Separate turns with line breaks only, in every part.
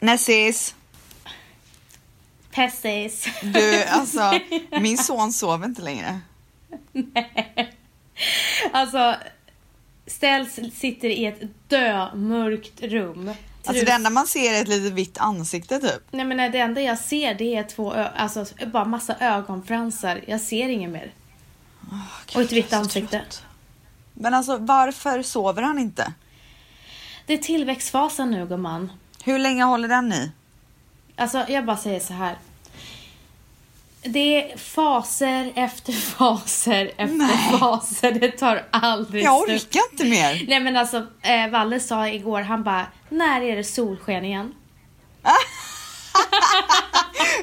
Nessis!
Pessis.
Du, alltså min son sover inte längre.
Alltså, Ställs sitter i ett dömörkt rum.
Alltså
Trus-
det enda man ser är ett litet vitt ansikte typ.
Nej men det enda jag ser det är två, ö- alltså bara massa ögonfransar. Jag ser inget mer. Och ett vitt ansikte.
Men alltså varför sover han inte?
Det är tillväxtfasen nu gumman.
Hur länge håller den i?
Alltså jag bara säger så här. Det är faser efter faser efter
Nej.
faser. Det tar aldrig
Jag
slut.
orkar inte mer.
Nej men alltså, eh, Valle sa igår, han bara, när är det solsken igen?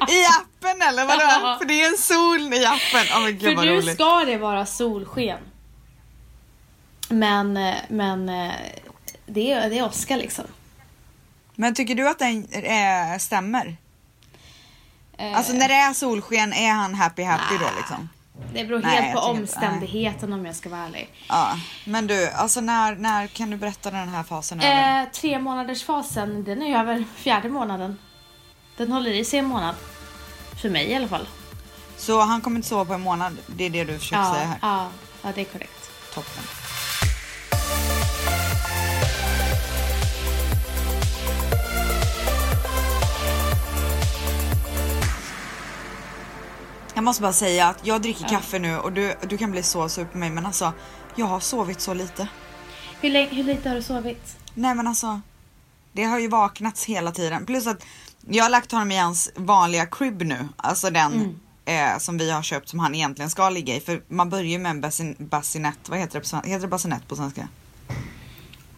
I appen eller vadå?
Ja.
För det är en sol i appen. Åh men gud
För
vad
nu
roligt.
ska det vara solsken. Men, eh, men eh, det är, det är Oskar liksom.
Men tycker du att den eh, stämmer?
Eh,
Alltså när det är solsken är han happy happy då liksom?
det beror
nej,
helt på
jag tycker inte- nej.
omständigheten om jag ska vara ärlig.
Ja. Men du, alltså när, när kan du berätta den här fasen över?
Eh, tre månaders fasen, den är över fjärde månaden. Den håller i sig en månad. För mig i alla fall.
Så han kommer inte sova på en månad? Det är det du försöker säga
Ja,
här?
ja, ja, det är korrekt.
Toppen. Jag måste bara säga att jag dricker kaffe nu och du, du kan bli så sur på mig men alltså jag har sovit så lite.
Hur, länge, hur lite har du sovit?
Nej men alltså det har ju vaknats hela tiden. Plus att jag har lagt honom i hans vanliga crib nu. Alltså den eh, som vi har köpt som han egentligen ska ligga i. För man börjar ju med en bassin, bassinett. Vad heter det på svenska? Heter det bassinett på svenska?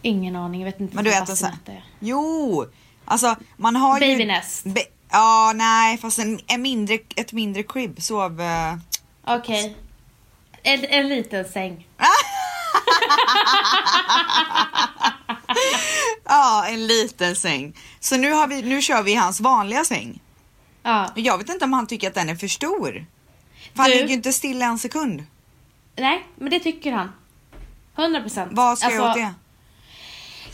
Ingen aning, jag vet inte
Men du
vad
vet en sån
bassinett är.
Jo! Alltså man har ju...
Babynest.
Be- Ja, nej fast en, en mindre, ett mindre crib. Sov... eh,
Okej. En, en liten säng.
Ja, en liten säng. Så nu, har vi, nu kör vi i hans vanliga säng.
Ja.
Och Jag vet inte om han tycker att den är för stor. För han
Du-
ligger ju inte stilla en sekund.
Nej, men det tycker han. 100 procent. Alltså,
Vad ska jag göra åt det?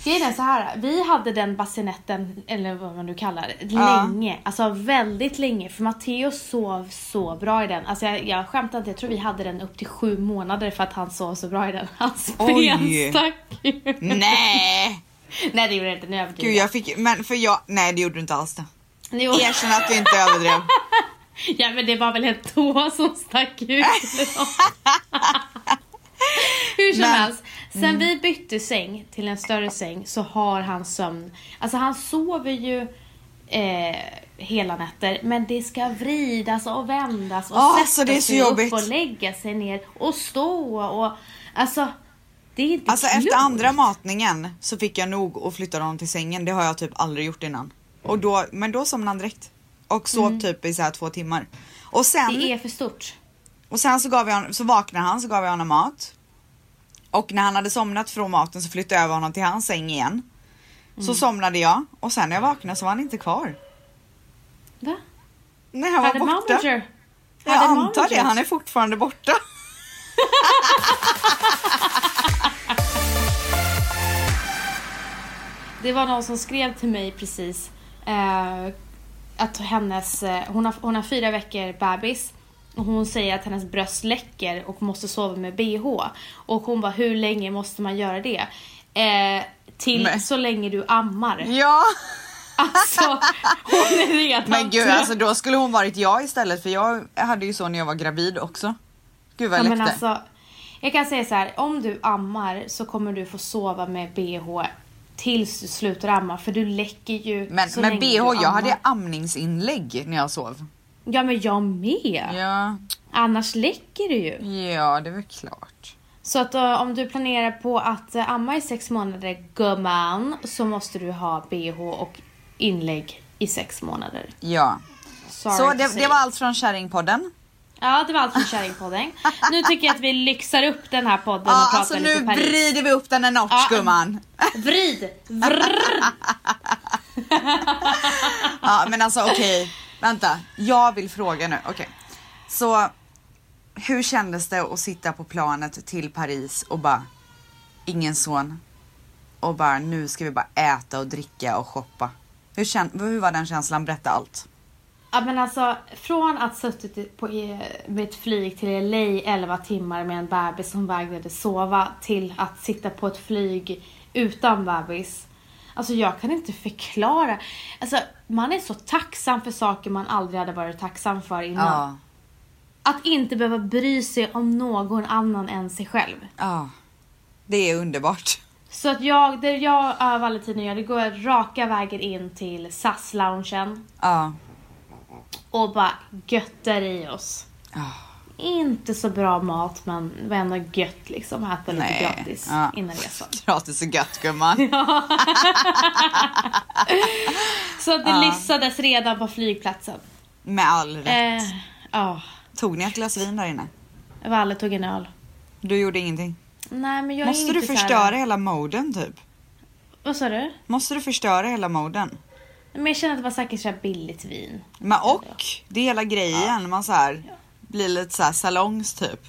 Grejen är så här, vi hade den bassinetten, eller vad man nu kallar det,
Ja.
länge. Alltså väldigt länge. För Matteo sov så bra i den. Alltså jag, jag skämtar inte, jag tror vi hade den upp till sju månader för att han sov så bra i den. Hans
Oj.
ben stack ju.
Nej!
Nej det gjorde jag inte, nu överdriver
Gud
jag.
jag fick, men för jag, nej det gjorde du inte alls det.
Jo,
Erkänn att du inte överdrev.
ja men det var väl en tå som stack ut. eller nåt. Hur som
Men- Mm.
helst, sen vi bytte säng till en större säng så har han sömn. Alltså han sover ju eh, hela nätter men det ska vridas och vändas och
Ah,
sätta
så det är så
sig
jobbigt.
upp och lägga sig ner och stå och alltså det är inte
Alltså
klokt.
efter andra matningen så fick jag nog och flyttade honom till sängen. Det har jag typ aldrig gjort innan. Och då, men då somnade han direkt. Och sov typ i så här två timmar. Och sen,
Mm. Det är för stort.
och sen så, gav jag, hon- så vaknade han så gav jag honom mat. Och när han hade somnat från maten så flyttade jag över honom till hans säng igen.
Mm.
Så somnade jag och sen när jag vaknade så var han inte kvar.
Va?
Nej han var
Hade
borta.
manager?
Jag
Hade
antar det,
manager?
han är fortfarande borta.
Det var någon som skrev till mig precis eh, att hennes, eh, hon, har, hon har fyra veckor bebis och hon säger att hennes bröst läcker och måste sova med bh. Och hon bara, hur länge måste man göra det? Eh, till
Nej.
så länge du ammar.
Ja.
Alltså, hon är redan
Men gud
trött.
alltså då skulle hon varit jag istället för jag hade ju så när jag var gravid också. Gud vad jag
Ja, men
läckte.
alltså, jag kan säga så här, om du ammar så kommer du få sova med bh tills du slutar amma för du läcker ju
Men,
så
men
länge
bh,
du
jag
ammar.
hade amningsinlägg när jag sov.
Ja men jag med.
Ja,
Annars läcker det ju.
ja det är väl klart.
Så att eh, om du planerar på att eh, amma i sex månader, gumman, så måste du ha bh och inlägg i sex månader.
Ja.
Sorry
så
to
det,
say.
det var allt från Kärringpodden.
Ja, det var allt från Kärringpodden. Nu tycker jag att vi lyxar upp den här podden och
Ja,
pratar
alltså
lite
nu
Paris.
vrider vi upp den en notch
Ja.
gumman.
Vrid! Vrrr.
Ja, men alltså okej, vänta. Jag vill fråga nu. Okej. Så hur kändes det att sitta på planet till Paris och bara ingen son och bara nu ska vi bara äta och dricka och shoppa. Hur Hur, kän, hur var den känslan? Berätta allt.
Ja men alltså från att suttit i- på, i- med ett flyg till LA 11 timmar med en bebis som vägrade sova till att sitta på ett flyg utan bebis. Alltså jag kan inte förklara. Alltså man är så tacksam för saker man aldrig hade varit tacksam för innan.
Ja.
Att inte behöva bry sig om någon annan än sig själv.
ja. Det är underbart.
Så att jag, det jag av alla tider gör, det går jag raka vägen in till SAS-loungen
Ja.
och bara göttar i oss.
Ja.
Inte så bra mat men det var ändå gött liksom att äta lite
Nej.
gratis
Ja.
innan resan.
Gratis och gött gumman.
Så att det lyssades redan på flygplatsen.
Med all rätt.
Eh, Ja,
Tog ni ett glas vin där inne?
Valle tog en öl.
Du gjorde ingenting.
Nej men jag är
Måste
inte
du
så här-
förstöra hela moden typ?
Vad sa du?
Måste du förstöra hela moden?
Men jag känner att det var säkert så här billigt vin.
Men och, det är hela grejen. Man så här, blir lite så här salongs typ.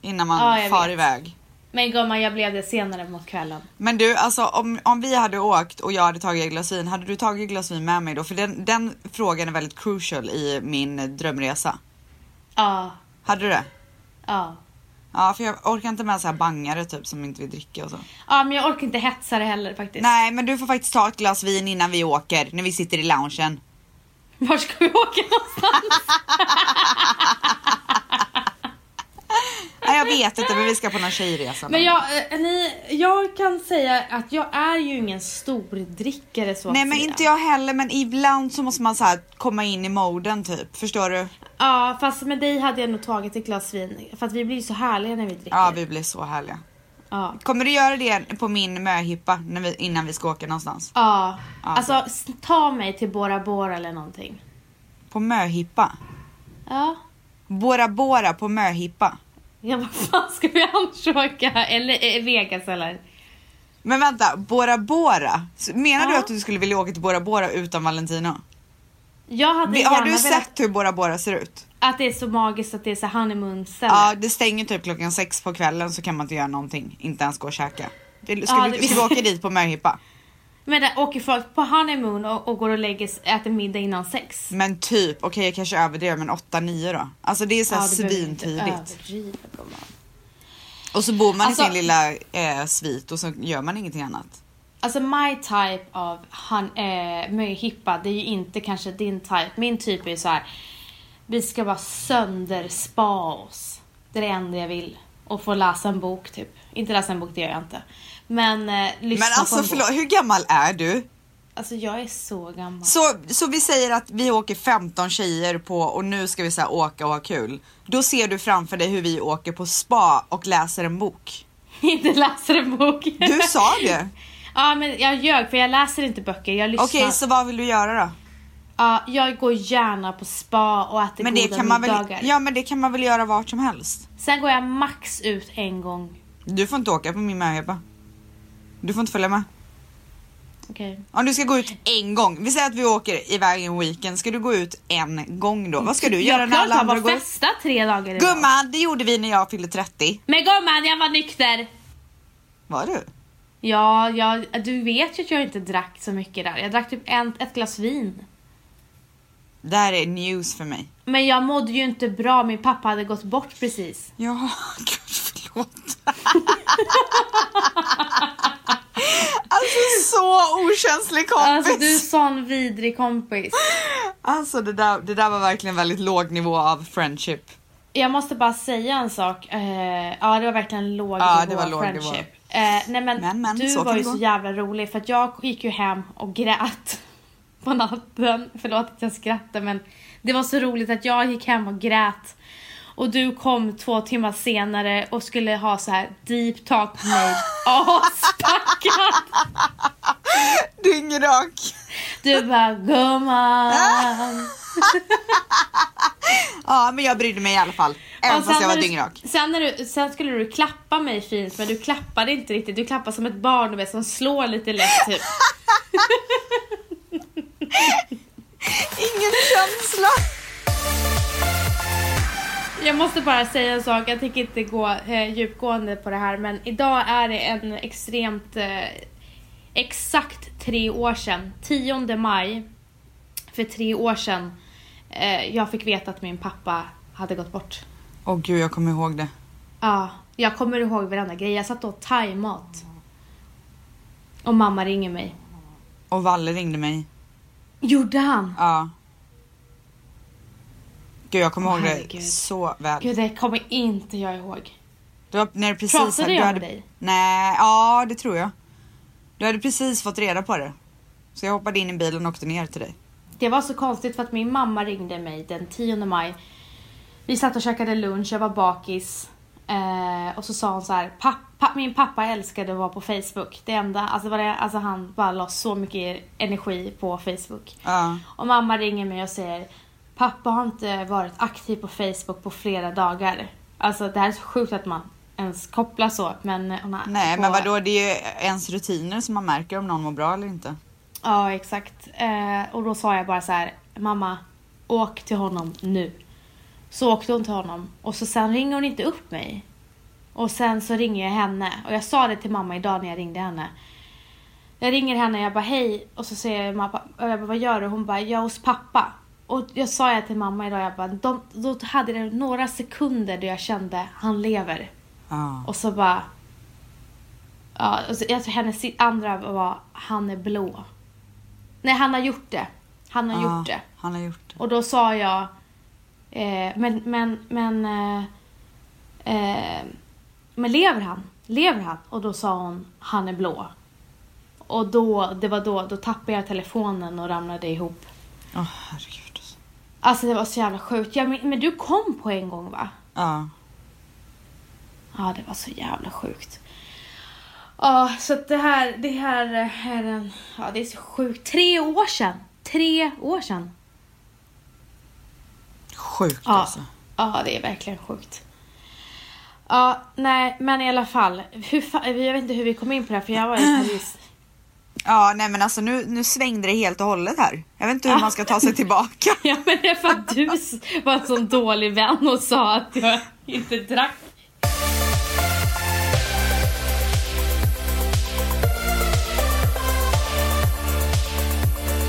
Innan man
Ja, jag
far
vet.
iväg.
Men gumman jag blev det senare mot kvällen.
Men du, alltså om, om vi hade åkt och jag hade tagit ett glas vin, hade du tagit ett glas vin med mig då? För den, den frågan är väldigt crucial i min drömresa.
Ja,
Hade du det?
ja.
Ja, för jag orkar inte med så här bangare typ som inte vill dricka och så.
Ja men jag orkar inte hetsa det heller faktiskt.
Nej, men du får faktiskt ta ett glas vin innan vi åker, när vi sitter i loungen.
Var ska vi åka någonstans?
Nej, jag vet inte, men vi ska på någon tjejresa.
Men jag, eh, ni, jag kan säga att jag är ju ingen stor drickare så
Nej
att
men
säga.
inte jag heller men ibland så måste man så här komma in i moden typ, förstår du?
Ja fast med dig hade jag nog tagit ett glas vin för att vi blir ju så härliga när vi dricker.
Ja vi blir så härliga.
Ja.
Kommer du göra det på min möhippa när vi, innan vi ska åka någonstans?
Ja. Alltså s- ta mig till Bora Bora eller någonting.
På möhippa?
Ja.
Bora Bora på möhippa?
Ja vad fan ska vi annars åka? Eller eh, Vegas eller?
Men vänta, Bora Bora? Så Menar du
Ja.
att du skulle vilja åka till Bora Bora utan Valentino?
Jag hade
Vi,
gärna
har du
velat
sett hur Bora Bora ser ut?
att det är så magiskt att det är så honeymoon ställe.
Ja, det stänger typ klockan sex på kvällen så kan man inte göra någonting, inte ens gå och käka. Det, ska,
Ja,
vi,
det-
ska vi åka dit på möhippa?
Men där åker folk på honeymoon och, och går och lägger, s- äter middag innan sex.
Men typ, okej jag kanske överdrev men 8-9 då. Alltså det är såhär
du behöver inte
svintidigt.
överdriva, gumman.
Och så bor man
Alltså-
i sin lilla eh, svit och så gör man ingenting annat.
Alltså my type av han, eh, möhippa, det är ju inte kanske din type. Min typ är ju så här. vi ska bara sönderspa oss. Det är det enda jag vill. Och få läsa en bok typ. Inte läsa en bok, det gör jag inte. Men eh, lyssna
Men
på
alltså
en
förlåt,
bok.
hur gammal är du?
Alltså jag är så gammal.
Så, så vi säger att vi åker 15 tjejer på och nu ska vi så här åka och ha kul. Då ser du framför dig hur vi åker på spa och läser en bok.
inte läser en bok.
Du sa det!
ja men jag ljög för jag läser inte böcker, jag lyssnar.
Okej så vad vill du göra då?
Ja, jag går gärna på spa och äter
Men det,
goda
kan man väl,
middagar.
ja, men det kan man väl göra vart som helst?
Sen går jag max ut en gång.
Du får inte åka på min möhippa. Du får inte följa med.
Okej.
Om du ska gå ut en gång, vi säger att vi åker iväg en weekend, ska du gå ut en gång då? Vad ska du göra
jag
när
klarar
alla
inte av
andra
att
går ut?
festa tre dagar i rad.
Gumman, det gjorde vi när jag fyllde 30.
Men gumman, jag var nykter!
Var du?
Ja, jag, du vet ju att jag inte drack så mycket där. Jag drack typ en, ett glas vin.
Det här är news för mig.
Men jag mådde ju inte bra, min pappa hade gått bort precis.
Ja, gud förlåt. alltså så okänslig kompis.
Alltså du är sån vidrig kompis.
Alltså det där, det där var verkligen väldigt låg nivå av friendship.
Jag måste bara säga en sak. Eh, ja, det var verkligen låg
Ja,
nivå
det var
av
låg
friendship.
nivå.
Eh, nej men,
Men, men,
du
så
var
kan
ju
det gå.
så jävla rolig för att jag gick ju hem och grät på natten. Förlåt att jag skrattar men det var så roligt att jag gick hem och grät. Och du kom två timmar senare och skulle ha så här deep talk med mig. Aspackad!
Dyngrak.
Du bara gumman.
Ja men jag brydde mig i alla fall. Även
Och
fast jag var
när du-
dyngrak.
Sen, när du, sen skulle du klappa mig fint men du klappade inte riktigt. Du klappade som ett barn du vet, som slår lite lätt typ.
Ingen känsla.
Jag måste bara säga en sak, jag tänker inte gå eh, djupgående på det här men idag är det en extremt eh, exakt tre år sedan, 10 maj för tre år sedan, eh, jag fick veta att min pappa hade gått bort.
Åh gud, jag kommer ihåg det.
Ja, jag kommer ihåg varenda grej. Jag satt och åt thaimat. Och mamma ringer mig.
Och Valle ringde mig.
Gjorde han?
Ja. Gud, jag kommer
Åh,
ihåg det
herregud.
så väl.
Gud, det kommer inte jag ihåg.
Du var, när du precis
Pratade
hade- du
jag
hade,
med dig?
Nej, ja det tror jag. Du hade precis fått reda på det. Så jag hoppade in i bilen och åkte ner till dig.
Det var så konstigt för att min mamma ringde mig den 10 maj. Vi satt och käkade lunch, jag var bakis. Eh, och så sa hon så här, pappa, min pappa älskade att vara på Facebook. Det enda, alltså, var det, alltså han bara la så mycket energi på Facebook.
Ja.
Och mamma ringer mig och säger Pappa har inte varit aktiv på Facebook på flera dagar. Alltså det här är så sjukt att man ens kopplar så. Men eh, hon har
Nej
på...
men vadå, det är ju ens rutiner som man märker om någon mår bra eller inte.
Ja exakt. Eh, och då sa jag bara så här, mamma åk till honom nu. Så åkte hon till honom och så sen ringer hon inte upp mig. Och sen så ringer jag henne och jag sa det till mamma idag när jag ringde henne. Jag ringer henne och jag bara hej och så säger mamma, och jag bara, vad gör du? Hon bara, jag är hos pappa. Och jag sa jag till mamma idag, jag bara, de, då hade det några sekunder där jag kände, han lever.
Ja.
Och så bara... Ja, och så, jag tror hennes si- andra var han är blå. Nej, han har gjort det. Han har
Ja,
gjort det.
Han har gjort det.
Och då sa jag... Eh, men, men, men... Eh, eh, men lever han? Lever han? Och då sa hon, han är blå. Och då, det var då, då tappade jag telefonen och ramlade ihop.
Åh herregud. alltså.
Alltså det var så jävla sjukt. Ja, men, men du kom på en gång va?
Ja.
Ja, det var så jävla sjukt. Ja, så att det här, det här är en, ja det är så sjukt. Tre år sedan! Tre år sedan!
Sjukt
Ja,
alltså.
ja det är verkligen sjukt. Ja, nej, men i alla fall. Hur fa- jag vet inte hur vi kom in på det här för jag var i Paris.
Ja nej men alltså nu, nu svängde det helt och hållet här. Jag vet inte hur
Ja.
man ska ta sig tillbaka.
Ja, men det är för att du s- var en sån dålig vän och sa att jag inte drack.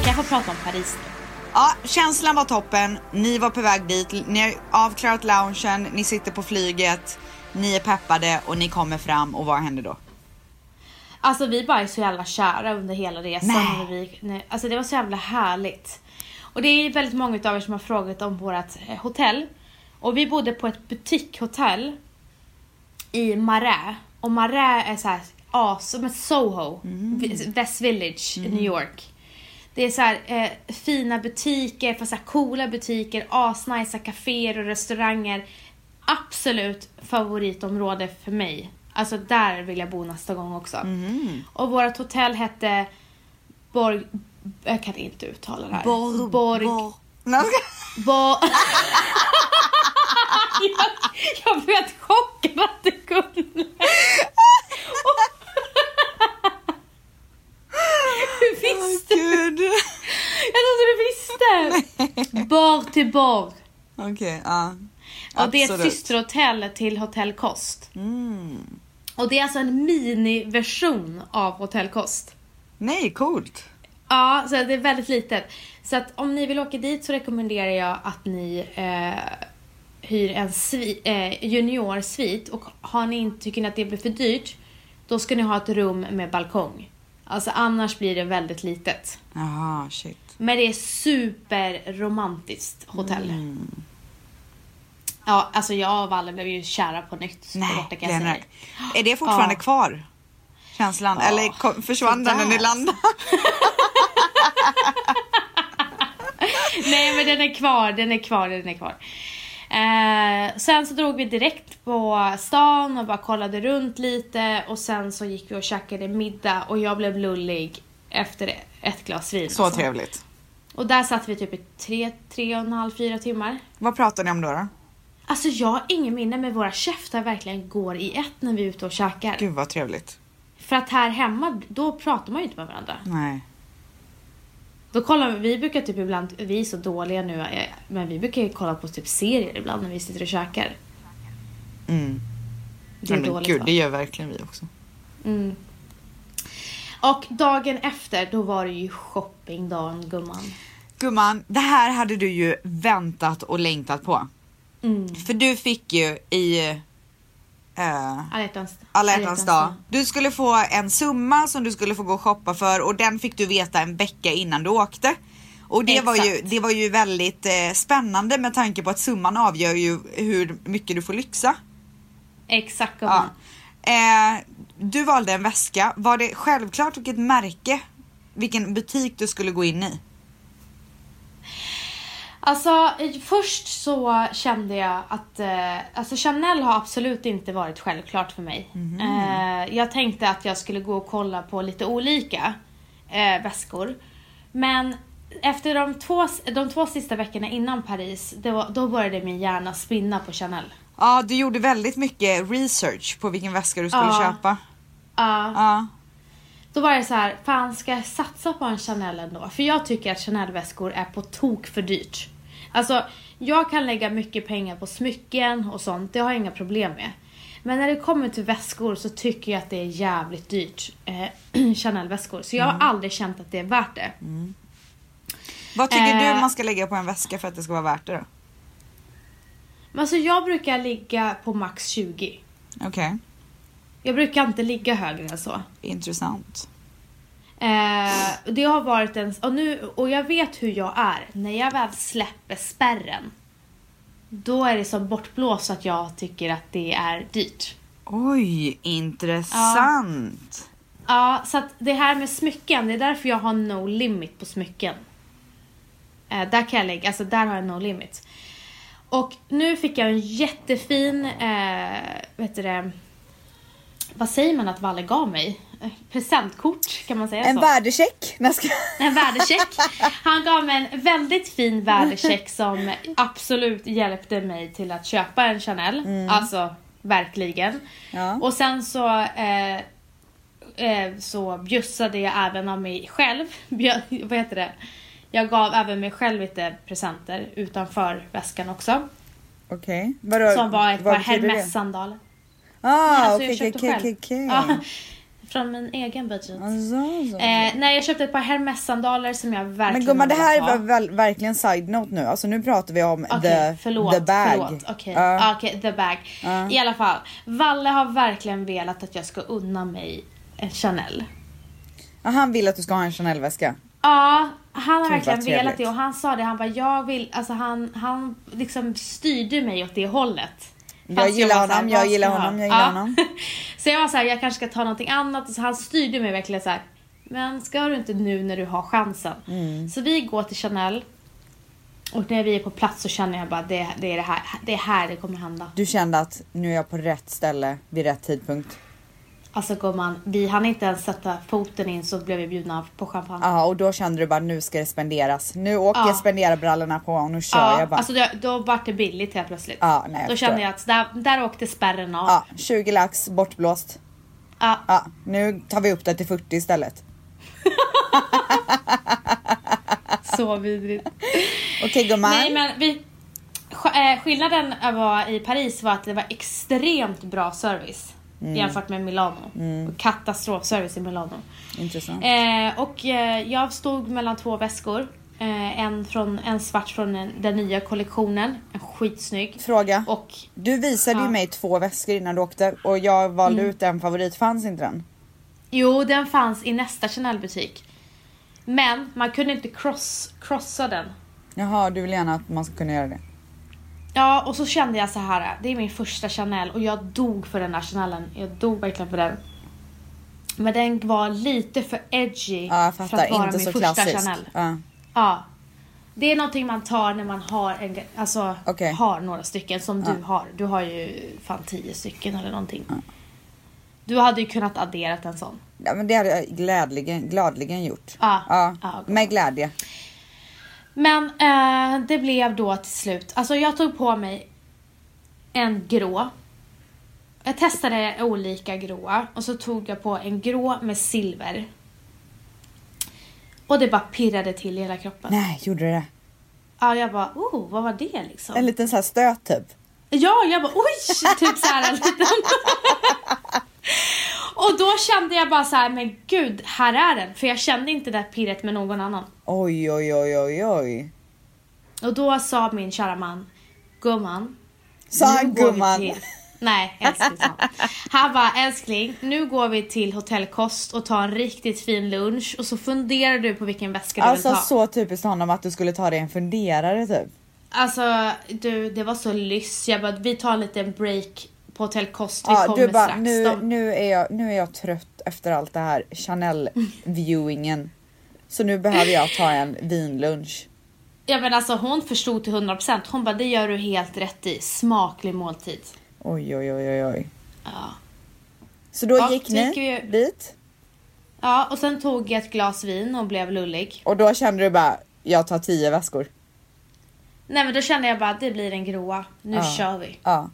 Kan jag få prata om Paris nu?
Ja, känslan var toppen. Ni var på väg dit. Ni har avklarat loungen, ni sitter på flyget, ni är peppade och ni kommer fram och vad händer då?
Alltså vi bara är så jävla kära under hela resan.
Nej.
När vi, när, alltså det var så jävla härligt. Och det är väldigt många av er som har frågat om vårt eh, hotell. Och vi bodde på ett butikshotell i Marais. Och Marais är så här, ja, som ett Soho, Vi- West Village i New York. Det är så här, eh, fina butiker, fast så här coola butiker, asnice kaféer och restauranger. Absolut favoritområde för mig. Alltså där vill jag bo nästa gång också.
Mm.
Och vårt hotell hette Borg... Jag kan inte uttala det här. Borg...
Borg. Nej, jag ska-
Bo- jag, jag blev helt chockad att du kunde. Hur visste
Åh, Gud.
Jag trodde du visste. Borg till Borg.
Okej, ja.
Och det är ett
Absolut.
systerhotell till Hotell Kost.
Mm.
Och det är alltså en miniversion av Hotell Kost.
Nej, coolt.
Ja, så det är väldigt litet. Så att om ni vill åka dit så rekommenderar jag att ni eh, hyr en svi- eh, juniorsvit och har ni inte, tycker ni att det blir för dyrt då ska ni ha ett rum med balkong. Alltså annars blir det väldigt litet.
Jaha, shit.
Men det är superromantiskt hotell.
Mm.
Ja, alltså jag och Valle blev ju kära på nytt. där
Nej,
borta, kan jag
Lennart.
säga.
Är det fortfarande
Ja.
kvar? Känslan?
Ja,
Eller kom, försvann den när ni
sådär.
landade?
Nej men den är kvar, den är kvar, den är kvar. Eh, sen så drog vi direkt på stan och bara kollade runt lite och sen så gick vi och käkade middag och jag blev lullig efter ett glas vin. alltså.
Så trevligt.
Och där satt vi typ i tre, tre och en halv, fyra timmar.
Vad pratar ni om då? då?
Alltså jag har ingen minne men våra käftar verkligen går i ett när vi är ute och käkar.
Gud vad trevligt.
För att här hemma, då pratar man ju inte med varandra.
Nej.
Då kollar vi, vi brukar typ ibland, vi är så dåliga nu, eh, men vi brukar ju kolla på typ serier ibland när vi sitter och käkar.
Mm.
Det är
Nej, men
dåligt
Gud,
va?
det gör verkligen vi också.
Mm. Och dagen efter, då var det ju shoppingdagen gumman.
Gumman, det här hade du ju väntat och längtat på. För du fick ju i eh,
Alla hjärtans
alla hjärtans dag. Du skulle få en summa som du skulle få gå och shoppa för och den fick du veta en vecka innan du åkte. Och det, var ju,
Exakt.
det var ju väldigt eh, spännande med tanke på att summan avgör ju hur mycket du får lyxa.
Exakt
Ja.
gumman.
Eh, du valde en väska. Var det självklart vilket märke, vilken butik du skulle gå in i?
Alltså eh, först så kände jag att, eh, alltså Chanel har absolut inte varit självklart för mig.
Mhm.
Eh, jag tänkte att jag skulle gå och kolla på lite olika eh, väskor. Men efter de två, de två sista veckorna innan Paris, det var, då började min hjärna spinna på Chanel.
Ja, du gjorde väldigt mycket research på vilken väska du skulle
Ja.
köpa.
Ja,
Ja.
Då var det så här, fan ska jag satsa på en Chanel ändå? För jag tycker att Chanel-väskor är på tok för dyrt. Alltså, jag kan lägga mycket pengar på smycken och sånt, det har jag inga problem med. Men när det kommer till väskor så tycker jag att det är jävligt dyrt, eh, Chanel-väskor. Så jag har aldrig känt att det är värt det.
Vad tycker
Eh.
du man ska lägga på en väska för att det ska vara värt det då?
Men alltså jag brukar ligga på max 20.
Okej,
Jag brukar inte ligga högre än så.
intressant.
Eh, det har varit en... Och, nu, och jag vet hur jag är. När jag väl släpper spärren, då är det som bortblåst att jag tycker att det är dyrt.
Oj, intressant.
Ja, så att det här med smycken, det är därför jag har no limit på smycken. Eh, där kan jag lägga, alltså där har jag no limit. Och nu fick jag en jättefin, eh, vet du det, vad säger man att Valle gav mig? Eh, Presentkort, kan man säga så?
värdecheck. Nej, jag ska-
En värdecheck. Han gav mig en väldigt fin värdecheck som absolut hjälpte mig till att köpa en Chanel. Alltså verkligen.
Mm. Ja.
Och sen så eh, eh, så bjussade jag även av mig själv. Bjö, vad heter det? Jag gav även mig själv lite presenter utanför väskan också.
Okej, vadå?
Som var ett par
betyder det?
Hermes-sandaler.
Ah,
Alltså, jag
okej,
köpte
okej,
själv.
okej, okej.
Ja, från min egen budget.
Alltså, så.
Eh, nej, jag köpte ett par Hermes-sandaler som jag
Men
verkligen
gumman det
hade
här
velat ha.
var väl, verkligen side note nu. Alltså nu pratar vi om
Okej,
the,
förlåt.
the bag.
Förlåt. Okej,
Ja.
ah, okej, the bag.
Ja.
I alla fall, Valle har verkligen velat att jag ska unna mig en Chanel.
Ja, han vill att du ska ha en Chanel-väska.
Ja, han har
Gud, vad
verkligen velat
trevligt.
det och han sa det, han bara jag vill, alltså han, han liksom styrde mig åt det hållet.
Jag
Fast
gillar
var så här,
honom, jag
vad ska
gillar
ha?
honom, jag gillar
Ja.
honom.
så jag var såhär, jag kanske ska ta någonting annat och så han styrde mig verkligen så här. men ska du inte nu när du har chansen?
Mm.
Så vi går till Chanel och när vi är på plats så känner jag bara det, det är det här, det är här det kommer hända.
Du kände att nu är jag på rätt ställe vid rätt tidpunkt.
Alltså gumman, vi hann inte ens sätta foten in så blev vi bjudna på champagne.
Ja, och då kände du bara nu ska det spenderas. Nu åker
Ja.
jag spenderarbrallorna på och nu kör jag bara.
alltså det, då vart det billigt helt plötsligt.
Ja, nej, jag
då
förstår.
kände jag att där, där åkte spärren av.
Ja, 20 lax bortblåst.
Ja.
Ja, nu tar vi upp det till 40 istället.
Så vidrigt.
Okej gumman.
Nej men vi... sk- eh, Skillnaden var i Paris var att det var extremt bra service
Mm.
jämfört med Milano. Katastrofservice i Milano.
Intressant.
Eh, och eh, jag stod mellan två väskor. Eh, en, från, en svart från den, den nya kollektionen, en skitsnygg.
Fråga.
Och
Du visade ju
Ja. Mm.
mig två väskor innan du åkte och jag valde ut en favorit. Fanns inte den?
Jo, den fanns i nästa Chanel-butik. Men man kunde inte cross, crossa den.
Jaha, du vill gärna att man ska kunna göra det.
Ja, och så kände jag så här. Det är min första Chanel och jag dog för den här Chanelen. Jag dog verkligen för den. Men den var lite för edgy
Ja, jag
för att
fattar.
vara
Inte
min
så
första
klassisk.
Chanel.
Ja.
Ja. Det är någonting man tar när man har, en, alltså,
Okej.
har några stycken som du har. Du har ju fan tio stycken eller någonting. Du hade ju kunnat addera en sån.
Ja, men det hade jag glädligen, gladligen gjort.
Ja.
Ja,
Ja, gumman.
med glädje.
Men eh, det blev då till slut, alltså jag tog på mig en grå. Jag testade olika gråa och så tog jag på en grå med silver. Och det bara pirrade till i hela kroppen.
Nej, gjorde du det?
Ja, jag bara, oh, vad var det liksom?
En liten så här stöt typ.
Ja, jag bara oj! Typ så här en liten. Och då kände jag bara så här, men gud, här är den. För jag kände inte det här pirret med någon annan.
Oj, oj, oj, oj, oj.
Och då sa min kära man, gumman.
Sa
nu
han
går vi
gumman.
till-" Nej, älskling sa han. Han bara, älskling, nu går vi till hotellkost och tar en riktigt fin lunch och så funderar du på vilken väska du
Alltså
vill ta.
så typiskt honom att du skulle ta dig en funderare typ.
Alltså du, det var så lyss. Jag bara, vi tar en liten break på hotellkost, vi
Ja,
kommer
du bara,
strax.
nu,
De,
nu, är jag, nu är jag trött efter allt det här Chanel-viewingen. Så nu behöver jag ta en vinlunch.
ja, men alltså, hon förstod till 100%. Hon bara, det gör du helt rätt i. Smaklig måltid.
Oj, oj, oj, oj, oj.
Ja.
Så då
Ja,
gick
så
ni
gick vi-
dit
Ja, och sen tog jag ett glas vin och blev lullig.
och då kände du bara, jag tar tio väskor.
Nej men då kände jag bara att det blir en groa. Nu
Ja.
kör vi.
Ja.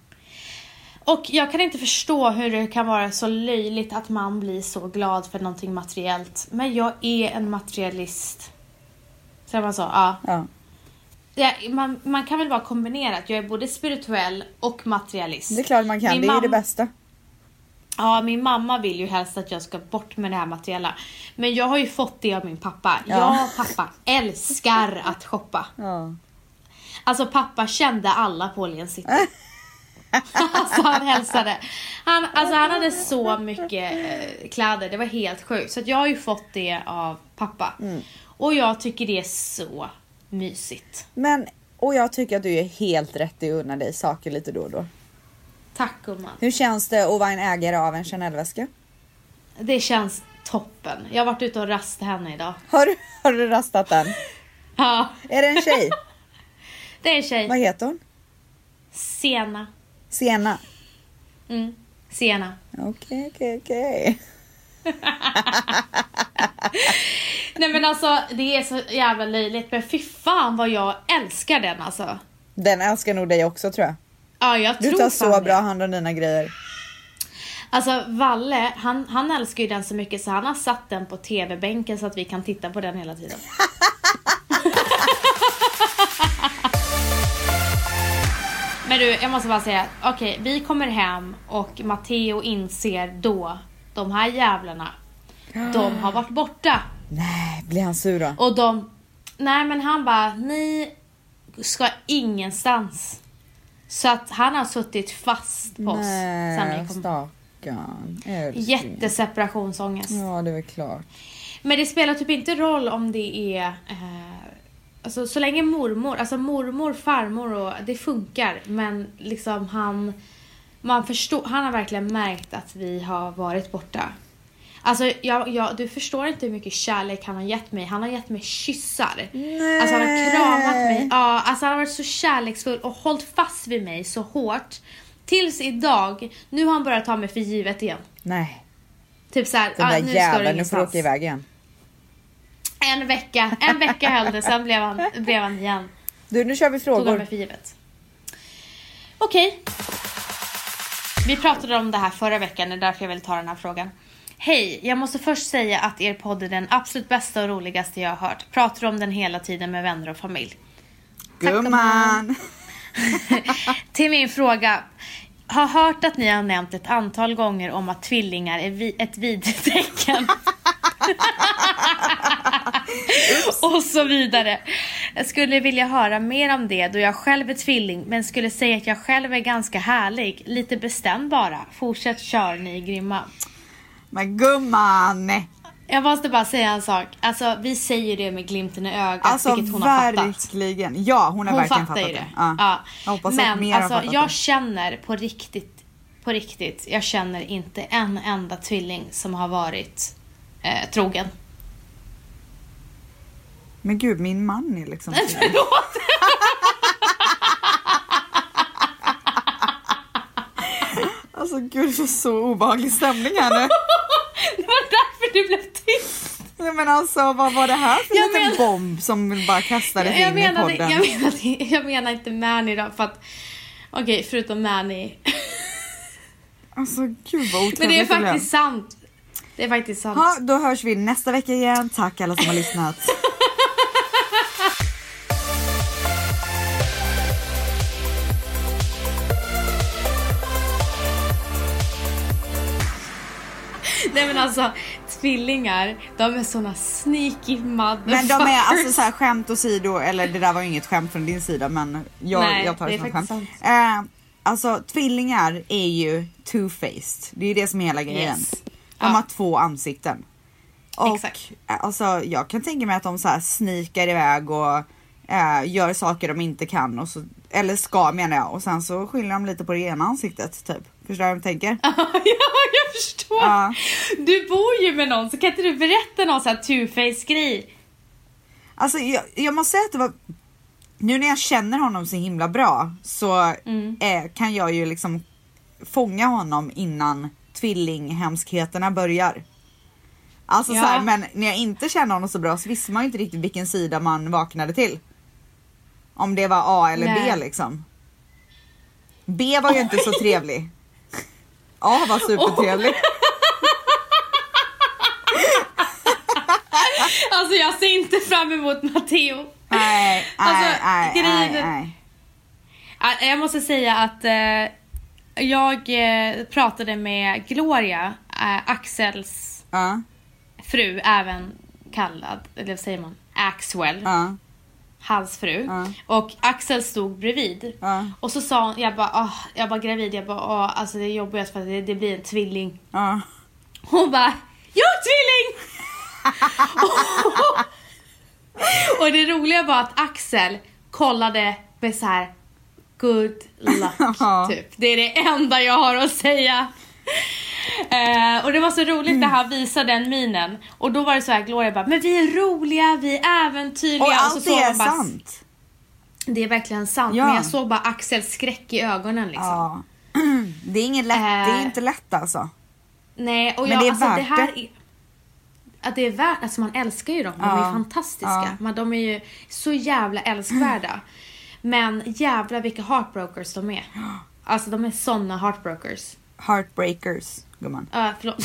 Och jag kan inte förstå hur det kan vara så löjligt att man blir så glad för någonting materiellt. Men jag är en materialist. Så man så? Ja.
ja.
Det, man, man kan väl vara kombinerat. Jag är både spirituell och materialist.
Det är klart man kan,
Min
det är ju det
mamma-
bästa.
Ja, min mamma vill ju helst att jag ska bort med det här materiella. Men jag har ju fått det av min pappa.
Ja.
Jag och pappa älskar att shoppa.
Ja.
Alltså pappa kände alla på Åhléns city. alltså han hälsade. Han, alltså, han hade så mycket eh, kläder, det var helt sjukt. Så att jag har ju fått det av pappa.
Mm.
Och jag tycker det är så mysigt.
Men, och jag tycker att du är helt rätt i att unna dig saker lite då och då.
Tack gumman.
Hur känns det att vara en ägare av en Chanel-väska?
Det känns toppen. Jag har varit ute och rastat henne idag.
Har, du- har du rastat den?
Ja,
Är det en tjej?
det är en tjej.
Vad heter hon?
Sena.
Sena?
Mm. Sena.
Okej, okej, okej.
Nej men alltså det är så jävla löjligt men fy fan vad jag älskar den alltså.
Den älskar nog dig också tror jag.
Ja jag
Du
tror
tar
fan
så
det.
bra hand om dina grejer.
Alltså Valle, han, han älskar ju den så mycket så han har satt den på tv-bänken så att vi kan titta på den hela tiden. Men du, jag måste bara säga, okej vi kommer hem och Matteo inser då, de här jävlarna, de har varit borta.
Nej, blir han sur då?
Och de, nej men han bara, ni ska ingenstans. Så att han har suttit fast på oss sen
Nej,
vi kom.
stackarn. älskling.
Jätteseparationsångest.
Ja, det är väl klart.
Men det spelar typ inte roll om det är... Eh, alltså så länge mormor, alltså mormor, farmor och det funkar. Men liksom han... Man förstår, han har verkligen märkt att vi har varit borta. Alltså jag, jag, du förstår inte hur mycket kärlek han har gett mig. Han har gett mig kyssar.
Nej.
Alltså han har kramat mig. Ja, alltså han har varit så kärleksfull och hållit fast vid mig så hårt. Tills idag, nu har han börjat ta mig för givet igen.
Nej,
Typ såhär,
den
ah,
där
nu ska du
jäveln. Nu får du
ingenstans.
åka iväg igen.
En vecka, en vecka höll det, sen blev han, blev han igen.
Du, nu kör vi
Tog han
frågor.
mig för givet. Okej. Vi pratade om det här förra veckan, det är därför jag vill ta den här frågan. Hej, jag måste först säga att er podd är den absolut bästa och roligaste jag har hört. Pratar om den hela tiden med vänner och familj.
Gumman!
Till min fråga. Har hört att ni har nämnt ett antal gånger om att tvillingar är vi, ett videtecken. och så vidare. Jag skulle vilja höra mer om det då jag själv är tvilling men skulle säga att jag själv är ganska härlig. Lite bestämd bara. Fortsätt kör, ni är grymma.
Men gumman!
Jag måste bara säga en sak. Alltså vi säger det med glimten i ögat
Alltså
vilket hon har fattat.
verkligen. Ja, hon har
Hon
verkligen
fattar
fattat
ju
det.
det.
Ja.
Ja.
Jag hoppas
Men
att mer
alltså,
har fattat
jag
det.
känner på riktigt, på riktigt, jag känner inte en enda tvilling som har varit eh, trogen.
Men gud, min man är liksom...
Förlåt!
Alltså gud, det är så obehaglig stämning här nu.
Det var därför du blev tyst.
Nej, men alltså vad var det här för
Jag
liten
men-
bomb som bara kastades
Jag
in
menade,
i podden?
jag, menade, jag menar inte Mani då för att, okej förutom Mani.
Alltså gud vad otrevligt
Men det är
blev.
faktiskt sant. Det är faktiskt sant.
Ja, då hörs vi nästa vecka igen. Tack alla som har lyssnat.
Nej men alltså tvillingar, de är såna sneaky
Men
motherfuckers.
de är alltså så här skämt åsido, eller det där var ju inget skämt från din sida men jag,
Nej,
jag tar
det
det
är
som ett skämt.
faktiskt
Eh, alltså tvillingar är ju two-faced. Det är ju det som är hela grejen.
Yes.
De
Ja.
har två ansikten. Och
Exakt.
eh, alltså jag kan tänka mig att de så här snikar iväg och eh, gör saker de inte kan och så, eller ska menar jag och sen så skyller de lite på det ena ansiktet typ. Förstår du vad jag tänker?
ja, jag förstår.
Ja.
Du bor ju med någon så kan inte du berätta någon sån här two-face grej?
Alltså jag, jag måste säga att det var Nu när jag känner honom så himla bra så
Mm.
eh, kan jag ju liksom fånga honom innan tvillinghemskheterna börjar. Alltså
Ja.
så här, men när jag inte känner honom så bra så visste man ju inte riktigt vilken sida man vaknade till. Om det var A eller
Nej.
B liksom. B var ju inte så trevlig. A var supertrevlig.
Alltså jag ser inte fram emot Matteo.
Nej, nej,
Alltså,
nej, nej,
grejen är-
nej.
Ja, Jag måste säga att eh, jag eh, pratade med Gloria, eh, Axels
Ja,
fru, även kallad, eller vad säger man, Axwell,
ja,
hans fru.
Ja.
Och Axel stod bredvid.
Ja.
Och så sa hon, jag bara, ah, jag bara gravid, jag bara, ah, alltså det är jobbigast för att det, det blir en tvilling.
ja.
Hon bara Jag är tvilling! och det roliga var att Axel kollade med så här Good
Ja.
luck, typ. Det är det enda jag har att säga. Eh, och det var så roligt när han visade den minen. Och då var det så här Gloria bara, men vi är roliga, vi är alltså äventyrliga.
Och
så
allt
såg
det är
man bara,
sant.
Det är verkligen sant.
Ja.
Men jag såg bara Axels skräck i ögonen liksom.
Ja. Det är inget lätt, det är
Eh,
inte lätt alltså.
Nej, och
Men
jag,
det är
alltså, det
värt
här
det.
är, att det är värt, alltså man älskar ju dem, de är
Ja.
ju fantastiska.
Ja. Mm.
Men de är ju så jävla älskvärda. Men jävla vilka heartbrokers de är. Alltså de är såna heartbrokers.
Heartbreakers, gumman.
Uh, förlåt.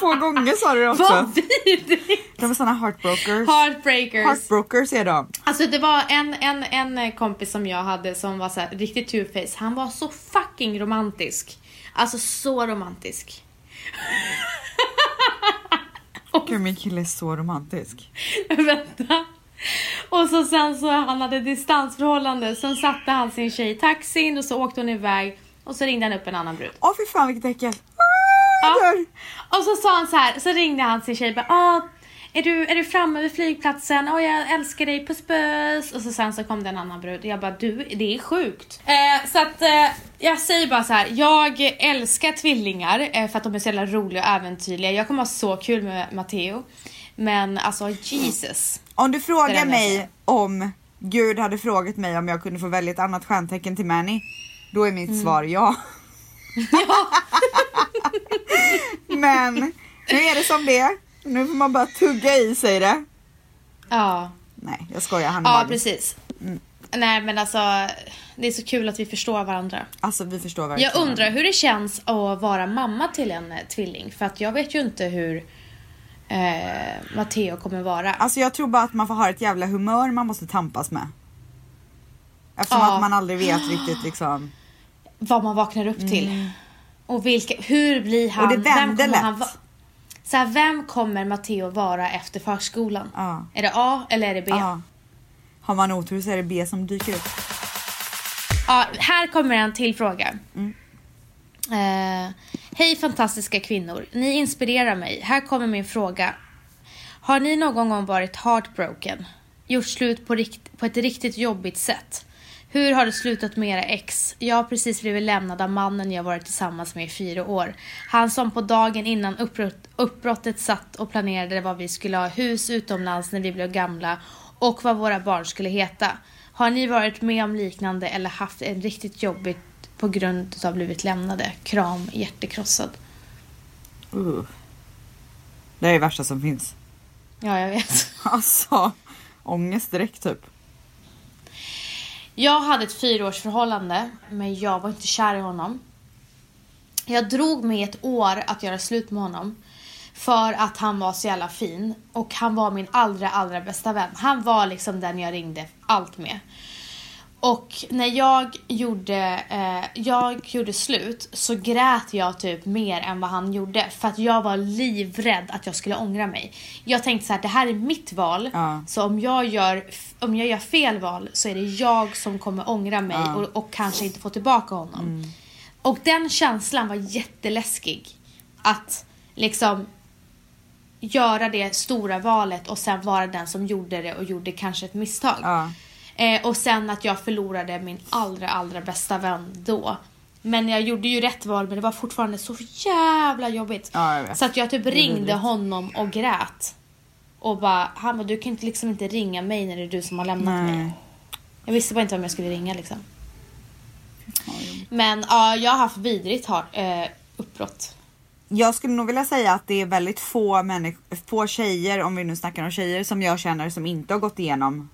Två gånger sa du det också.
Ah, Vad vidrigt!
De är såna heartbrokers.
Heartbreakers.
Heartbrokers är de.
Alltså det var en, en, en kompis som jag hade som var så här, riktigt two-face. Han var så fucking romantisk. Alltså så romantisk.
Gud, min kille är så romantisk.
Vänta. Och så sen så han hade distansförhållande. Sen satte han sin tjej i taxin och så åkte hon iväg. Och så ringde han upp en annan brud.
Åh fy fan vilket äckel. Ah, jag dör.
Och så sa han så här, så ringde han sin tjej och bara, ah, är du, är du framme vid flygplatsen? Åh jag älskar dig, puss puss. Och så sen så kom det en annan brud. Jag bara, du det är sjukt. Eh, så att eh, jag säger bara så här, jag älskar tvillingar eh, för att de är så jävla roliga och äventyrliga. Jag kommer ha så kul med Matteo. Men alltså Jesus.
Om du
Det är
frågar
det enda jag
mig
säger.
om Gud hade frågat mig om jag kunde få välja ett annat stjärntecken till Manny, då är
Mm.
mitt svar ja. Men nu är det som det är. Nu får man bara tugga i sig det.
Ja.
Nej, jag skojar. Han är
Ja,
magisk.
precis.
Mm.
Nej, men alltså det är så kul att vi förstår varandra.
Alltså vi förstår verkligen.
Jag undrar hur det känns att vara mamma till en eh, tvilling för att jag vet ju inte hur eh, Matteo kommer vara.
Alltså jag tror bara att man får ha ett jävla humör man måste tampas med. Eftersom
Ja.
att man aldrig vet riktigt liksom.
Vad man vaknar upp till. Och vilka, hur blir han?
Mm. Och det vänder
kommer
lätt.
va- så här, vem kommer Matteo vara efter förskolan?
Ja.
Är det A eller är det B?
Ja. Har man otur så är det B som dyker upp.
Ja, här kommer en till fråga. Eh, Hej fantastiska kvinnor, ni inspirerar mig. Här kommer min fråga. Har ni någon gång varit heartbroken? Gjort slut på, rikt- på ett riktigt jobbigt sätt? Hur har det slutat med era ex? Jag har precis blivit lämnad av mannen jag varit tillsammans med i fyra år. Han som på dagen innan uppbrott- uppbrottet satt och planerade vad vi skulle ha hus utomlands när vi blev gamla och vad våra barn skulle heta. Har ni varit med om liknande eller haft en riktigt jobbigt på grund av blivit lämnade? Kram, hjärtekrossad.
Uh. Det är det värsta som finns.
Ja, jag vet.
Alltså ångest direkt typ.
Jag hade ett fyraårsförhållande, men jag var inte kär i honom. Jag drog mig ett år att göra slut med honom. För att han var så jävla fin. Och han var min allra, allra bästa vän. Han var liksom den jag ringde allt med. Och när jag gjorde, eh, jag gjorde slut så grät jag typ mer än vad han gjorde. För att jag var livrädd att jag skulle ångra mig. Jag tänkte så här, det här är mitt val.
Ja.
Så om jag, gör, om jag gör fel val så är det jag som kommer ångra mig
Ja. Mm.
och, och kanske inte få tillbaka honom. Och den känslan var jätteläskig. Att liksom göra det stora valet och sen vara den som gjorde det och gjorde kanske ett misstag.
Ja.
Eh, och sen att jag förlorade min allra, allra bästa vän då. Men jag gjorde ju rätt val men det var fortfarande så jävla jobbigt.
Ja, jag vet.
Så att jag typ
är
ringde
vidrigt.
honom och grät. Och bara, han bara, du kan inte liksom inte ringa mig när det är du som har lämnat mig.
Nej.
Jag visste bara inte om jag skulle ringa liksom.
Ja, jobbigt.
Men ja, jag har haft vidrigt har, eh, uppbrott.
Jag skulle nog vilja säga att det är väldigt få, människ- få tjejer, om vi nu snackar om tjejer, som jag känner som inte har gått igenom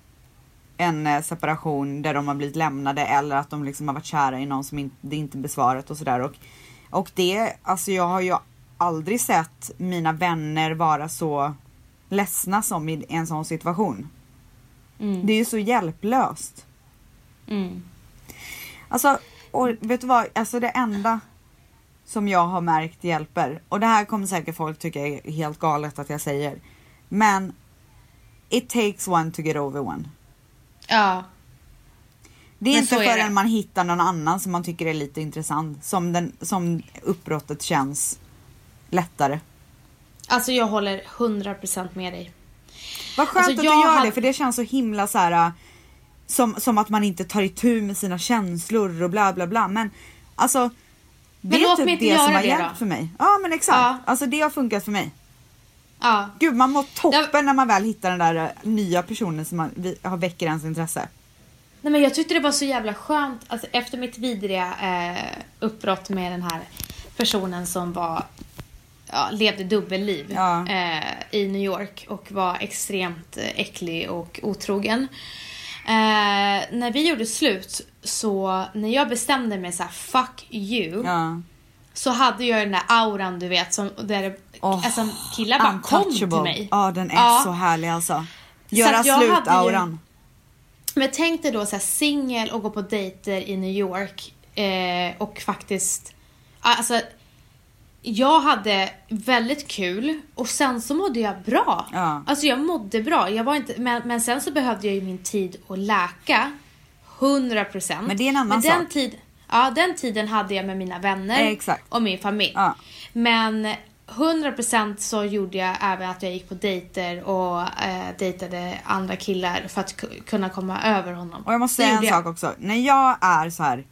en eh, separation där de har blivit lämnade eller att de liksom har varit kära i någon som inte, det inte är besvarat och sådär. Och, och det, alltså jag har ju aldrig sett mina vänner vara så ledsna som i en sån situation.
Mm.
Det är ju så hjälplöst.
Mm.
Alltså, och vet du vad? Alltså det enda som jag har märkt hjälper, och det här kommer säkert folk tycka är helt galet att jag säger, men it takes one to get over one.
Ja.
Det är
Men
inte
så är
förrän
det.
man hittar någon annan som man tycker är lite intressant som, den, som uppbrottet känns lättare.
Alltså jag håller 100% med dig.
Vad skönt
Alltså,
att du
jag
gör
hade-
det för det känns så himla så här äh, som, som att man inte tar itu med sina känslor och bla bla bla men alltså det
Men
är
låt
typ
mig inte
det
göra
som har
det
hjälpt
då.
för mig. Ja men exakt,
Ja.
alltså det har funkat för mig.
Ja.
Gud man mår toppen
Jag-
när man väl hittar den där äh, nya personen som man, vi, har väcker ens intresse.
Nej men jag tyckte det var så jävla skönt alltså, efter mitt vidriga eh, uppbrott med den här personen som var ja, levde dubbelliv
Ja.
eh, i New York och var extremt eh, äcklig och otrogen. Eh, när vi gjorde slut så när jag bestämde mig så här: fuck you
Ja.
så hade jag den där auran du vet som där
Åh,
alltså, killar bara kom till
untouchable.
mig.
Ja den är
Ja.
så härlig alltså.
Så
Göra
att jag hade ju-
slut-auran.
Men tänk dig då så här singel och gå på dejter i New York eh, och faktiskt, alltså jag hade väldigt kul och sen så mådde jag bra.
Ja.
Alltså jag mådde bra, jag var inte, men, men sen så behövde jag ju min tid att läka. 100%.
Men det är en annan
Men den
sak.
Tid, ja, den tiden hade jag med mina vänner
Eh, exakt.
och min familj.
Ja.
Men 100% så gjorde jag även att jag gick på dejter och eh, dejtade andra killar för att ku- kunna komma över honom.
Och jag måste
Det
säga en
gjorde
sak också. När jag är så här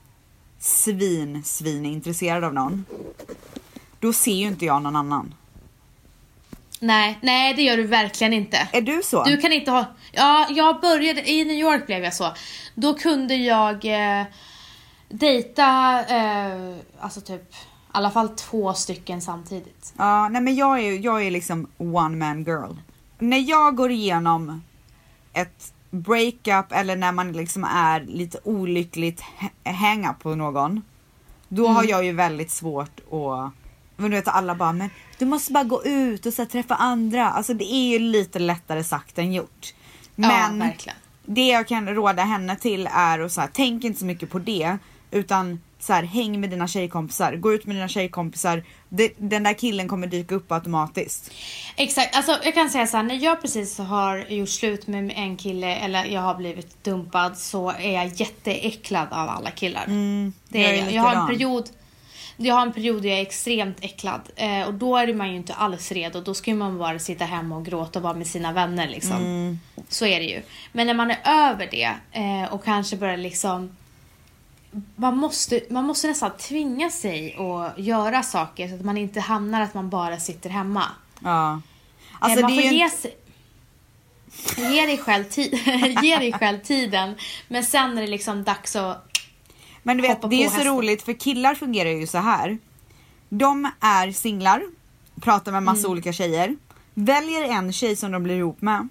svin, svin intresserad av någon. Då ser ju inte jag någon annan.
Nej, nej det gör du verkligen inte.
Är du så?
Du kan inte ha... Ja, jag började... I New York blev jag så. Då kunde jag eh, dejta, eh, alltså typ, i alla fall två stycken samtidigt.
Ja, nej men jag är, jag är liksom one man girl. När jag går igenom ett breakup eller när man liksom är lite olyckligt h- hänga på någon. Då har
Mm.
jag ju väldigt svårt att, men du vet alla bara, men du måste bara gå ut och så här, träffa andra. Alltså det är ju lite lättare sagt än gjort. Men
ja, verkligen.
det jag kan råda henne till är att så här, tänk inte så mycket på det utan så här, häng med dina tjejkompisar, gå ut med dina tjejkompisar. Det, den där killen kommer dyka upp automatiskt.
Exakt, alltså jag kan säga så här, när jag precis har gjort slut med en kille eller jag har blivit dumpad så är jag jätteäcklad av alla killar. det
Mm, jag
är
är
jag. jag har en
likadan.
period jag har en period där jag är extremt äcklad eh, och då är man ju inte alls redo. Då ska ju man bara sitta hemma och gråta och vara med sina vänner liksom.
Mm.
Så är det ju. Men när man är över det eh, och kanske börjar liksom man måste, man måste nästan tvinga sig att göra saker så att man inte hamnar att man bara sitter hemma.
Ja. Alltså,
Eh, man
det är
får
ju,
ge sig... Ge dig, själv ti- ge dig själv tiden, men sen är det liksom dags att...
men du vet,
hoppa
det är
på
ju så
hästen.
roligt för killar fungerar ju så här. De är singlar, pratar med massa
Mm.
olika tjejer, väljer en tjej som de blir ihop med.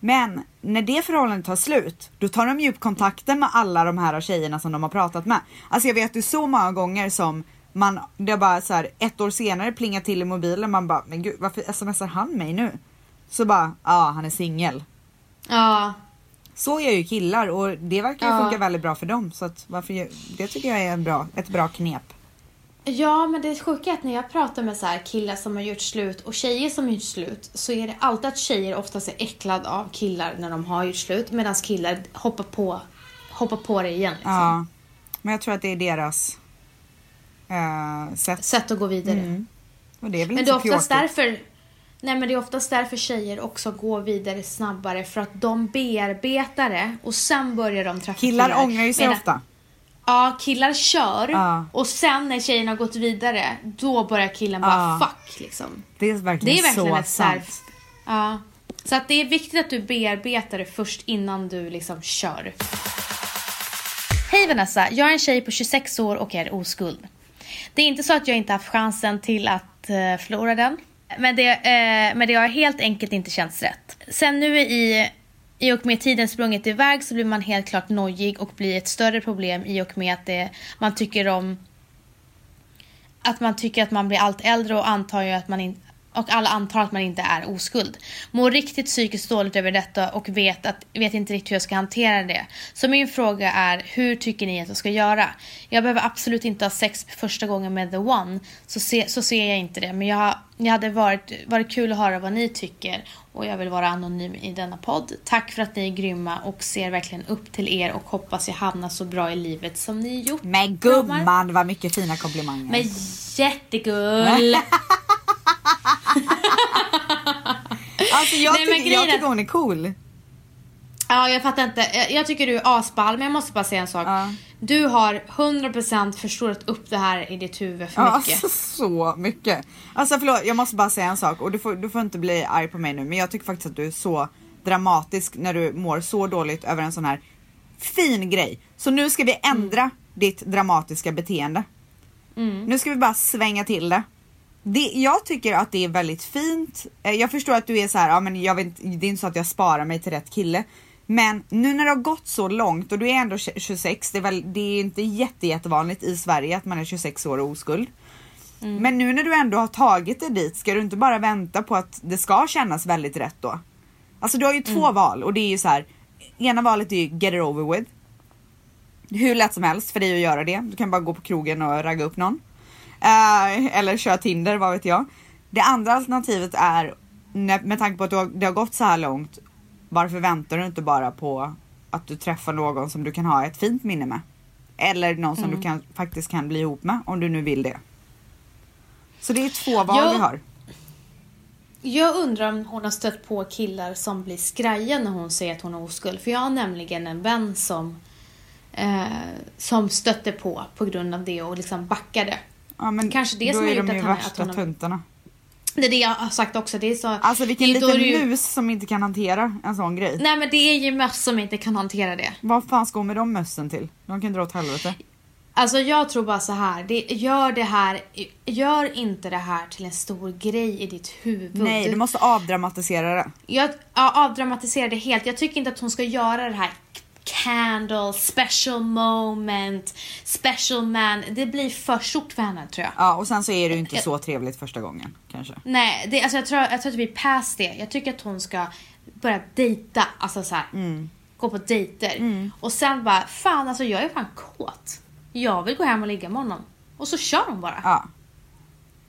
Men när det förhållandet tar slut, då tar de ju upp kontakten med alla de här tjejerna som de har pratat med. Alltså jag vet ju så många gånger som man, det är bara så här, ett år senare plingar till i mobilen, man bara, men gud varför smsar han mig nu? Så bara, ja ah, han är singel.
Ja,
Så gör ju killar och det verkar ju
Ja.
funka väldigt bra för dem. Så att varför, ju- det tycker jag är en bra, ett bra knep.
Ja, men det är sjuka är att när jag pratar med så här killar som har gjort slut och tjejer som har gjort slut så är det alltid att tjejer oftast är äcklade av killar när de har gjort slut medan killar hoppar på, hoppar på det igen. Liksom.
Ja. Men jag tror att det är deras eh, sätt.
Sätt att gå vidare.
Och det är väl
Men
inte
det är
så
oftast
pjåkigt.
därför Nej men det är oftast därför tjejer också går vidare snabbare för att de bearbetar det och sen börjar de träffa killar.
Killar ångrar ju sig
Medan-
ofta.
Ja, killar kör
Ja.
och sen när tjejen har gått vidare då börjar killen bara
Ja.
fuck liksom.
Det är verkligen,
Det är verkligen
så
ett så här,
sant.
ja. Så att det är viktigt att du bearbetar det först innan du liksom kör. Hej Vanessa, jag är en tjej på 26 år och är oskuld. Det är inte så att jag inte haft chansen till att eh, förlora den. Men det, eh, men det har helt enkelt inte känts rätt. Sen nu i, i och med tiden sprungit iväg så blir man helt klart nojig och blir ett större problem i och med att det, man tycker om att man tycker att man blir allt äldre och antar ju att man in, och alla antar att man inte är oskuld. Mår riktigt psykiskt dåligt över detta och vet, att, vet inte riktigt hur jag ska hantera det. Så min fråga är, hur tycker ni att jag ska göra? Jag behöver absolut inte ha sex första gången med the one, så, se, så ser jag inte det. Men jag, jag hade varit, varit kul att höra vad ni tycker och jag vill vara anonym i denna podd. Tack för att ni är grymma och ser verkligen upp till er och hoppas jag hamnar så bra i livet som ni gjort.
Men
Kramar.
gumman vad mycket fina komplimanger.
Men jättegull!
alltså jag,
Nej, men
tycker,
grejen
jag
är-
tycker hon är cool.
Ja, jag fattar inte. Jag, jag tycker du är asball, men jag måste bara säga en sak.
Ja.
Du har 100% förstorat upp det här i ditt huvud för
Ja,
mycket.
Alltså, så mycket. Alltså förlåt, jag måste bara säga en sak och du får, du får inte bli arg på mig nu men jag tycker faktiskt att du är så dramatisk när du mår så dåligt över en sån här fin grej. Så nu ska vi ändra ditt dramatiska beteende. Nu ska vi bara svänga till det. det. Jag tycker att det är väldigt fint. Eh, Jag förstår att du är så här, ja, men jag vet, inte- det är inte så att jag sparar mig till rätt kille. Men nu när det har gått så långt och du är ändå 26, det är, väl, det är inte jätte, jättevanligt i Sverige att man är 26 år och oskuld. Men nu när du ändå har tagit dig dit, ska du inte bara vänta på att det ska kännas väldigt rätt då? Alltså du har ju två val och det är ju så här. ena valet är ju get it over with. Hur lätt som helst för dig att göra det. Du kan bara gå på krogen och ragga upp någon. Eh, eller köra Tinder, vad vet jag. Det andra alternativet är, när- med tanke på att du har, det har gått så här långt, varför väntar du inte bara på att du träffar någon som du kan ha ett fint minne med? Eller någon som
Mm.
du kan, faktiskt kan bli ihop med om du nu vill det. Så det är två val
Jag-
vi har.
Jag undrar om hon har stött på killar som blir skraja när hon säger att hon är oskuld. För jag har nämligen en vän som, eh, som stötte på på grund av det och liksom backade.
Ja, men
Kanske det
då
som har
är
gjort
de ju
att han-
värsta
att hon har-
tuntarna.
Det är det jag har sagt också. Det är så,
Alltså vilken
det är då
liten
det ju-
mus som inte kan hantera en sån grej.
Nej men det är ju möss som inte kan hantera det.
Vad fan ska hon med de mössen till? De kan dra åt helvete.
Alltså jag tror bara så här, det, gör det här, gör inte det här till en stor grej i ditt huvud.
Nej, du måste avdramatisera det.
Jag ja, avdramatiserar det helt. Jag tycker inte att hon ska göra det här candle, special moment, special man. Det blir för stort för henne tror jag.
Ja, och sen så är det ju inte så trevligt första gången kanske.
Nej, det, alltså jag, tror, jag tror att vi är past det. Jag tycker att hon ska börja dejta, alltså så här,
Mm.
gå på dejter. Och sen bara, fan alltså jag är fan kåt. Jag vill gå hem och ligga med honom. Och så kör hon bara.
Ja.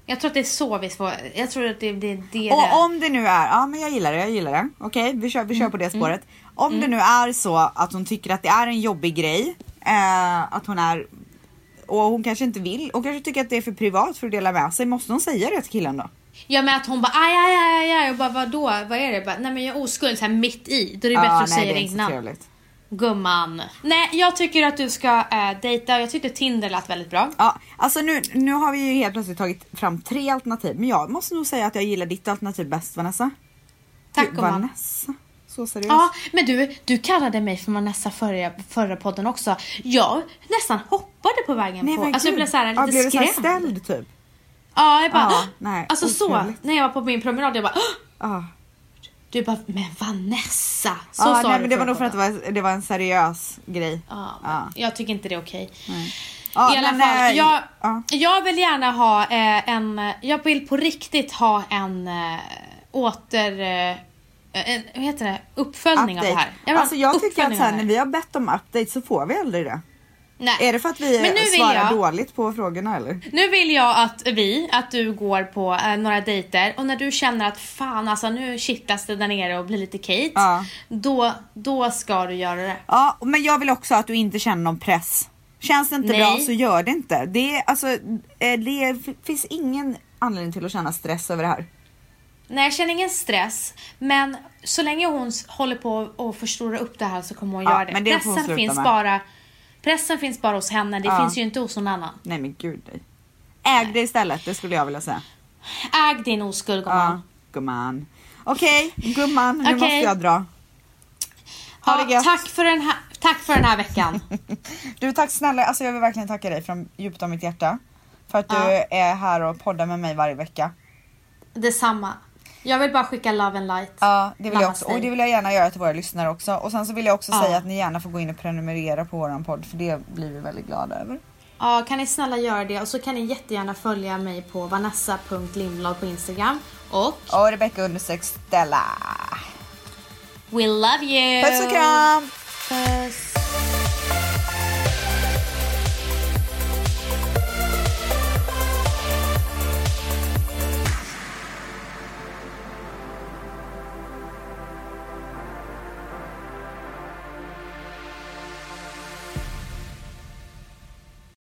Jag tror att det är så vi får... Jag tror att det, det är det det Mm,
Och om det nu är, ja men jag gillar det, jag gillar det. Okej, vi kör, vi kör på det spåret. Om det nu är så att hon tycker att det är en jobbig grej, eh, att hon är, och hon kanske inte vill, och kanske tycker att det är för privat för att dela med sig, måste hon säga det till killen då?
Ja men att hon bara aj, aj, aj, aj, aj. och bara vadå, vad är det? Bara, nej men jag är oskuld så här mitt i. Då är det bättre att
nej,
säga det
är inte så
innan.
trevligt.
Gumman. Nej, jag tycker att du ska eh, dejta. Jag tyckte Tinder lät väldigt bra.
Ja, alltså nu, nu har vi ju helt plötsligt tagit fram tre alternativ, men jag måste nog säga att jag gillar ditt alternativ bäst Vanessa.
Tack
Gud,
gumman.
Vanessa. Så seriöst.
Ja, men du, du kallade mig för Vanessa förra, förra podden också. Jag nästan hoppade på vägen
Nej,
på.
men
Alltså jag
gud.
blev så här
ja,
lite
blev du så här
skrämd.
ställd typ?
ja, jag bara
Ja,
"Åh!"
nej,
Alltså så,
otroligt.
när jag var på min promenad, jag bara "Åh!"
Ja.
Du bara, men Vanessa! Så
ja,
sa
nej,
du
men det var
förra
nog för att det
podden.
var, det var en seriös grej.
Ja, men
Ja.
Jag tycker inte det är okej.
Ja,
I alla
men,
fall,
eh,
jag,
ja.
jag vill gärna ha eh, en, jag vill på riktigt ha en eh, åter, eh, en vad heter det, uppföljning av det här.
Update. Alltså jag tycker
uppföljning
att så här,
av
när
det här.
vi har bett om update så får vi aldrig det.
Nej.
Är det för att vi
Men nu vill
svarar
jag-
dåligt på frågorna eller?
Nu vill jag att vi, att du går på eh, några dejter och när du känner att fan alltså nu kittlas det där nere och blir lite Kate.
Ja.
Då, då ska du göra det.
Ja, men jag vill också att du inte känner någon press. Känns det inte
Nej.
bra så gör det inte. Det, är, alltså, eh, det är- finns ingen anledning till att känna stress över det här.
Nej jag känner ingen stress men så länge hon s- håller på och förstorar upp det här så kommer hon
Ja,
göra det.
men det får hon
pressen,
sluta
finns
med.
bara, pressen finns bara hos henne, det
Ja.
finns ju inte hos någon annan.
Nej men gud. nej. Äg det istället, det skulle jag vilja säga.
Äg din oskuld
Ja,
gumman.
gumman. Okej, gumman, nu
Okej.
måste jag dra. Ha det
Ja,
gött.
tack, för den här, tack för den här veckan.
Du tack snälla, alltså jag vill verkligen tacka dig från djupt av mitt hjärta. För att
Ja.
du är här och poddar med mig varje vecka.
Detsamma. Jag vill bara skicka love and light.
Ja, det vill jag också.
Namaste.
Och det vill jag gärna göra till våra lyssnare också. Och sen så vill jag också
Ja.
säga att ni gärna får gå in och prenumerera på våran podd för det blir vi väldigt glada över.
Ja, kan ni snälla göra det och så kan ni jättegärna följa mig på vanessa.lindblad på Instagram och
Och Rebecca understreck Stella.
we love you!
Puss och kram!
Puss.